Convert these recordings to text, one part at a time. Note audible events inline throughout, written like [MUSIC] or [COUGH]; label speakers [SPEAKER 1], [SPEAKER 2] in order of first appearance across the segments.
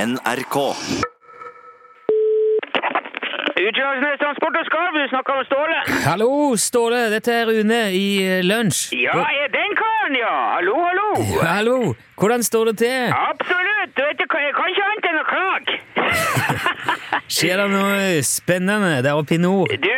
[SPEAKER 1] NRK.
[SPEAKER 2] Utslagsnes Transport og Skarv, du snakker med Ståle.
[SPEAKER 3] Hallo, Ståle. Dette er Rune i eh, Lunsj.
[SPEAKER 2] Ja, er den karen, ja. Hallo, hallo.
[SPEAKER 3] Hallo. Hvordan står det til?
[SPEAKER 2] Absolutt. Du vet, ikke, jeg kan ikke annet enn å klage.
[SPEAKER 3] Skjer det noe spennende der oppe i nord?
[SPEAKER 2] Du,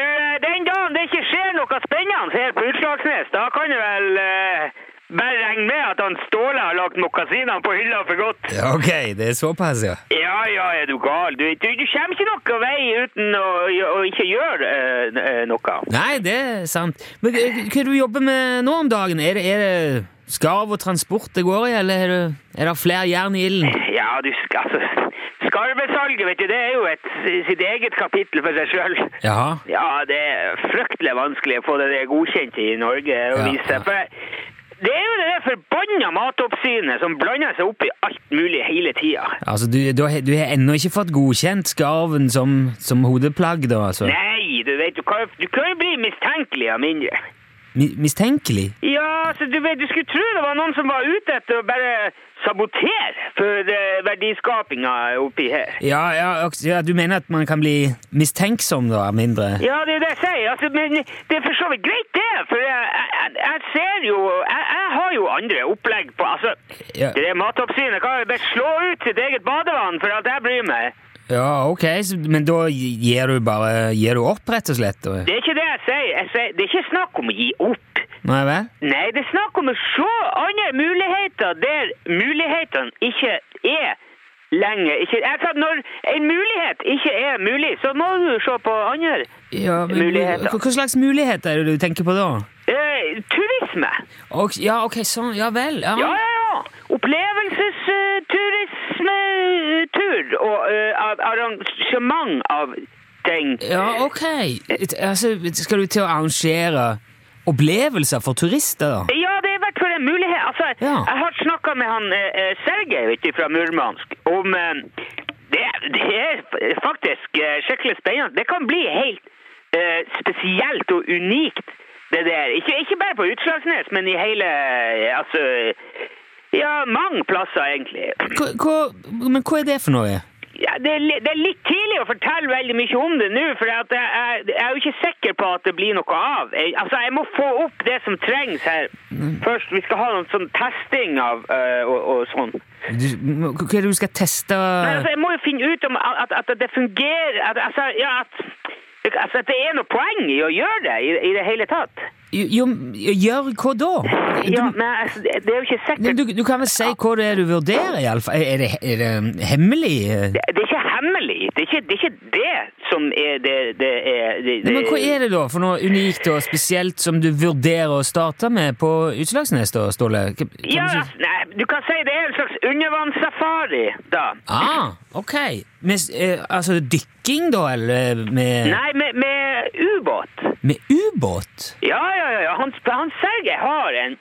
[SPEAKER 2] den dagen det ikke skjer noe spennende her på Utslagsnes, da kan du vel eh, bare regne med at han Ståle har lagt mokasinene på hylla for godt.
[SPEAKER 3] Ja, Ok, det er såpass, ja.
[SPEAKER 2] Ja, ja, er du gal? Du, du, du kommer ikke noen vei uten å, å ikke gjøre eh, eh, noe.
[SPEAKER 3] Nei, det er sant. Men eh, hva er det du jobber med nå om dagen? Er det, er det skarv og transport det går i, eller er det, er det flere jern i ilden?
[SPEAKER 2] Ja, du skal altså Skarvesalget, vet du, det er jo et, sitt eget kapittel for seg sjøl.
[SPEAKER 3] Jaha.
[SPEAKER 2] Ja, det er fryktelig vanskelig å få det der godkjent i Norge og
[SPEAKER 3] Ja,
[SPEAKER 2] vise seg. For det er jo det der forbanna matoppsynet som blander seg opp i alt mulig hele tida.
[SPEAKER 3] Altså, du, du, har- du har ennå ikke fått godkjent skarven som, som hodeplagg, da, altså?
[SPEAKER 2] Nei, du vet, du kan, du kan jo bli mistenkelig av mindre.
[SPEAKER 3] Mi- Mistenkelig?
[SPEAKER 2] Ja, så du vet, du skulle tro det var noen som var ute etter å bare sabotere for eh, verdiskapinga oppi her.
[SPEAKER 3] Ja, ja, ok, ja, du mener at man kan bli mistenksom, da, mindre?
[SPEAKER 2] Ja, det er det jeg sier. Altså, men det er for så vidt greit, det. For jeg, jeg, jeg ser jo jeg, jeg har jo andre opplegg på Altså,
[SPEAKER 3] Ja.
[SPEAKER 2] det der Matoppsynet kan jo bare slå ut sitt eget badevann for alt jeg bryr meg.
[SPEAKER 3] Ja, ok, så, men da gir du bare gir du opp, rett og slett? Og...
[SPEAKER 2] Det er ikke det jeg sier. jeg sier. Det er ikke snakk om å gi opp.
[SPEAKER 3] Nei vel?
[SPEAKER 2] Nei, det er snakk om å se andre muligheter der mulighetene ikke er lenge. Ikke, jeg sa, når en mulighet ikke er mulig, så må du se på andre
[SPEAKER 3] Ja, men,
[SPEAKER 2] Muligheter.
[SPEAKER 3] Hva, hva slags muligheter er det du tenker på da?
[SPEAKER 2] eh, turisme.
[SPEAKER 3] Ok, ja, ok, sånn, ja vel. Ja,
[SPEAKER 2] Ja, ja, ja. Opplevelsesturismetur og eh, ar- arrangement av ting.
[SPEAKER 3] Ja, ok. Et- Altså, skal du til å arrangere opplevelser for turister, da?
[SPEAKER 2] Ja, det er i hvert fall en mulighet. Altså,
[SPEAKER 3] Ja.
[SPEAKER 2] Jeg har snakka med han eh, eh, Sergej vet du, fra Murmansk om eh, det, det er f- faktisk eh, skikkelig spennende. Det kan bli helt eh, spesielt og unikt, det der. Ikke, ikke bare på Utslagsnes, men i hele eh, Altså Ja, mange plasser, egentlig.
[SPEAKER 3] Hva, hva, men hva er det for noe?
[SPEAKER 2] Ja, det, er, li- det er litt tidlig å fortelle veldig mye om det nå, for at jeg, jeg, jeg er jo ikke sikker på at det blir noe av. Jeg, altså, jeg må få opp det som trengs her.
[SPEAKER 3] Mm.
[SPEAKER 2] Først, vi skal ha noen sånn testing av øh, og, og sånn.
[SPEAKER 3] Du, hva er det du skal teste?
[SPEAKER 2] Men altså, jeg må jo finne ut om at, at det fungerer, at, altså, ja, at, altså, at det er noe poeng i å gjøre det i, i det hele tatt.
[SPEAKER 3] Jo, gjør hva da?
[SPEAKER 2] Ja, men altså, det det er jo ikke
[SPEAKER 3] Nei,
[SPEAKER 2] sikkert.
[SPEAKER 3] Du, du kan vel si hva det er du vurderer, iallfall? Er det, er det hemmelig?
[SPEAKER 2] Det, det er ikke hemmelig. Det er ikke det, er ikke det som er det, det, er, det,
[SPEAKER 3] Nei,
[SPEAKER 2] det
[SPEAKER 3] men Hva er det da for noe unikt og spesielt som du vurderer å starte med på Utslagsnes, da, Ståle? Kan- kan
[SPEAKER 2] Ja,
[SPEAKER 3] du
[SPEAKER 2] altså,
[SPEAKER 3] ikke-
[SPEAKER 2] nei, du kan si det er en slags undervannssafari, da.
[SPEAKER 3] Ah, ok. Med, s- eh, altså dykking, da, eller med,
[SPEAKER 2] Nei, med, med ubåt.
[SPEAKER 3] med ubåt? [LAUGHS]
[SPEAKER 2] Ja, ja, ja, ja. Han, han Sergej har en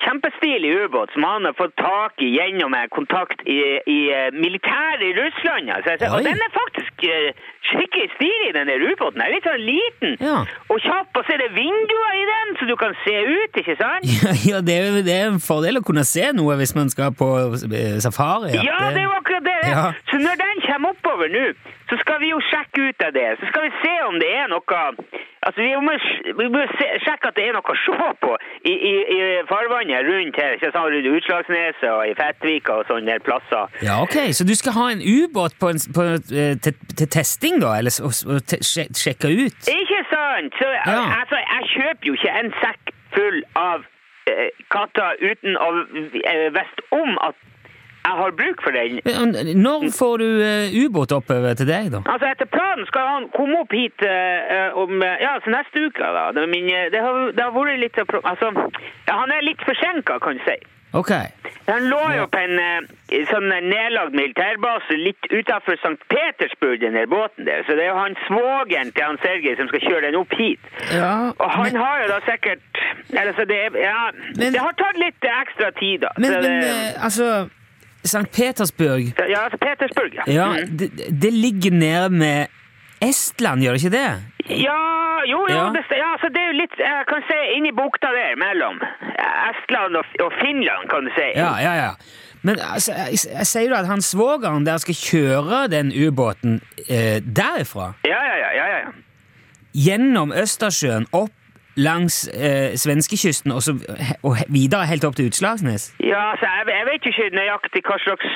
[SPEAKER 2] kjempestilig ubåt som han har fått tak i gjennom en kontakt i, i eh, militæret i Russland. Altså. Jeg ser-
[SPEAKER 3] Oi.
[SPEAKER 2] Og den er faktisk eh, skikkelig stilig, den der ubåten. Den er litt sånn liten
[SPEAKER 3] Ja.
[SPEAKER 2] og kjapp, og så er det vinduer i den, så du kan se ut, ikke sant?
[SPEAKER 3] Ja, ja det, er, jo- det er en fordel å kunne se noe hvis man skal på eh, safari. at
[SPEAKER 2] Ja, det er jo akkurat det.
[SPEAKER 3] Ja.
[SPEAKER 2] Så når den kommer oppover nå, så skal vi jo sjekke ut av det. Så skal vi se om det er noe Altså, vi må, sj- vi må se, sjekke at det er noe å se på i, i, i farvannet rundt her. Ikke sant? Rundt Utslagsneset og i Fettvika og sånne der plasser.
[SPEAKER 3] Ja, ok. Så du skal ha en ubåt på en, s- på, eh, til, til testing, da? Eller s- og, s- og te, sje- sjekke ut?
[SPEAKER 2] Ikke sant? Så
[SPEAKER 3] Ja.
[SPEAKER 2] altså, jeg kjøper jo ikke en sekk full av eh, katter uten å eh, vite om at jeg har bruk for den.
[SPEAKER 3] Ja, men Når får du eh, ubåt oppover til deg, da?
[SPEAKER 2] Altså Etter planen skal han komme opp hit eh, eh, om eh, Ja, altså neste uke, da. Det, er min, eh, det, har, det har vært litt av pro- Altså, ja, han er litt forsinka, kan du si.
[SPEAKER 3] Ok.
[SPEAKER 2] Han lå jo på en eh, sånn nedlagd militærbase litt utafor St. Petersburg, den der båten der. Så det er jo han svogeren til han Sergej som skal kjøre den opp hit.
[SPEAKER 3] Ja,
[SPEAKER 2] Og han
[SPEAKER 3] men-
[SPEAKER 2] har jo da sikkert eller, så det, er- ja,
[SPEAKER 3] Men-
[SPEAKER 2] det har tatt litt ekstra tid, da.
[SPEAKER 3] Men,
[SPEAKER 2] så
[SPEAKER 3] men
[SPEAKER 2] det,
[SPEAKER 3] eh, altså St. Petersburg
[SPEAKER 2] så, ja, altså Petersburg,
[SPEAKER 3] ja,
[SPEAKER 2] Mm.
[SPEAKER 3] det, det ligger nede med Estland, gjør det ikke det?
[SPEAKER 2] Ja, Ja, jo, jo,
[SPEAKER 3] Ja.
[SPEAKER 2] Det, st- ja, så det er jo litt Jeg kan si inni bukta der mellom Estland og, og Finland, kan du si.
[SPEAKER 3] Ja, ja, ja. Men altså, jeg, jeg sier jo at han svogeren der skal kjøre den ubåten eh, derifra,
[SPEAKER 2] ja, ja. ja, ja, ja.
[SPEAKER 3] gjennom Østersjøen, opp langs eh, svenskekysten og, så, og he- videre helt opp til Utslagsnes.
[SPEAKER 2] ja så jeg, jeg vet jo ikke nøyaktig hva slags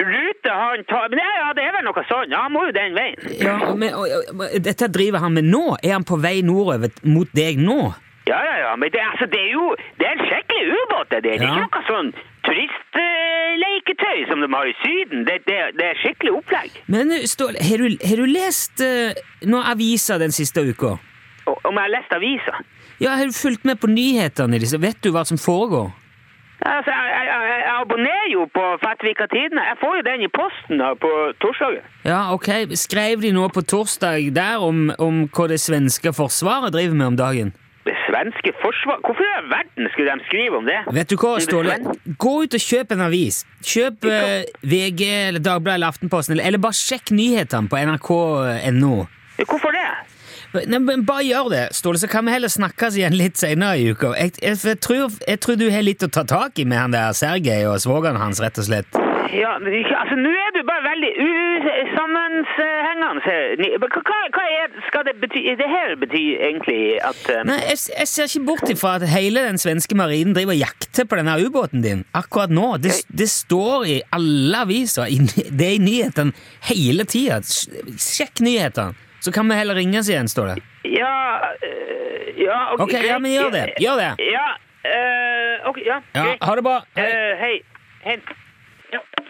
[SPEAKER 2] rute han tar Men ja, ja, det er vel noe sånn. Ja, han må jo den veien.
[SPEAKER 3] Ja, men, og, og, og, dette driver han med nå. Er han på vei nordover mot deg nå?
[SPEAKER 2] Ja, ja, ja. Men det, altså, det er jo Det er en skikkelig ubåt, det der. Det er
[SPEAKER 3] Ja.
[SPEAKER 2] ikke noe sånn turistleketøy som de har i Syden. Det, det, det er skikkelig opplegg.
[SPEAKER 3] Men eh, Ståle, har du, har du lest eh, noen aviser den siste uka?
[SPEAKER 2] Og- Om jeg har lest avisa?
[SPEAKER 3] Ja, Har du fulgt med på nyhetene? i disse? Vet du hva som foregår?
[SPEAKER 2] Altså, jeg, jeg, jeg, jeg abonnerer jo på Fettvika Tidene. Jeg får jo den i posten da, på torsdagen.
[SPEAKER 3] Ja, ok. Skrev de noe på torsdag der om, om hva det svenske forsvaret driver med om dagen?
[SPEAKER 2] Det svenske forsvar... Hvorfor i all verden skulle de skrive om det?
[SPEAKER 3] Vet du hva,
[SPEAKER 2] Men det
[SPEAKER 3] Ståle?
[SPEAKER 2] sven-
[SPEAKER 3] Gå ut og kjøp en avis. Kjøp eh, VG, eller Dagbladet eller Aftenposten, eller, eller bare sjekk nyhetene på nrk.no.
[SPEAKER 2] Hvorfor det?
[SPEAKER 3] Nei, men Bare gjør det, Ståle, så kan vi heller snakkes igjen litt senere i uka. Jeg, jeg, for jeg, tror, jeg tror du har litt å ta tak i med han der Sergej og svogeren hans, rett og slett.
[SPEAKER 2] Ja, men ikke- altså, Nå er du bare veldig usammenhengende. her. Ni- men Hva, hva- hva er, skal det bety? Det her betyr egentlig at eh,
[SPEAKER 3] Nei, jeg, jeg ser ikke bort ifra at hele den svenske marinen driver og jakter på denne ubåten din akkurat nå. Det, det står i alle aviser, i ny- det er i nyhetene hele tida. Sjekk nyhetene, så kan vi heller ringes igjen, står det.
[SPEAKER 2] Ja eh, Ja, OK.
[SPEAKER 3] Ok, ja, men gjør det. Gjør det.
[SPEAKER 2] Ja. eh, OK. Ja.
[SPEAKER 3] Ja,
[SPEAKER 2] greit.
[SPEAKER 3] ha det bra. Hei.
[SPEAKER 2] Eh, hei. Hei. Ja.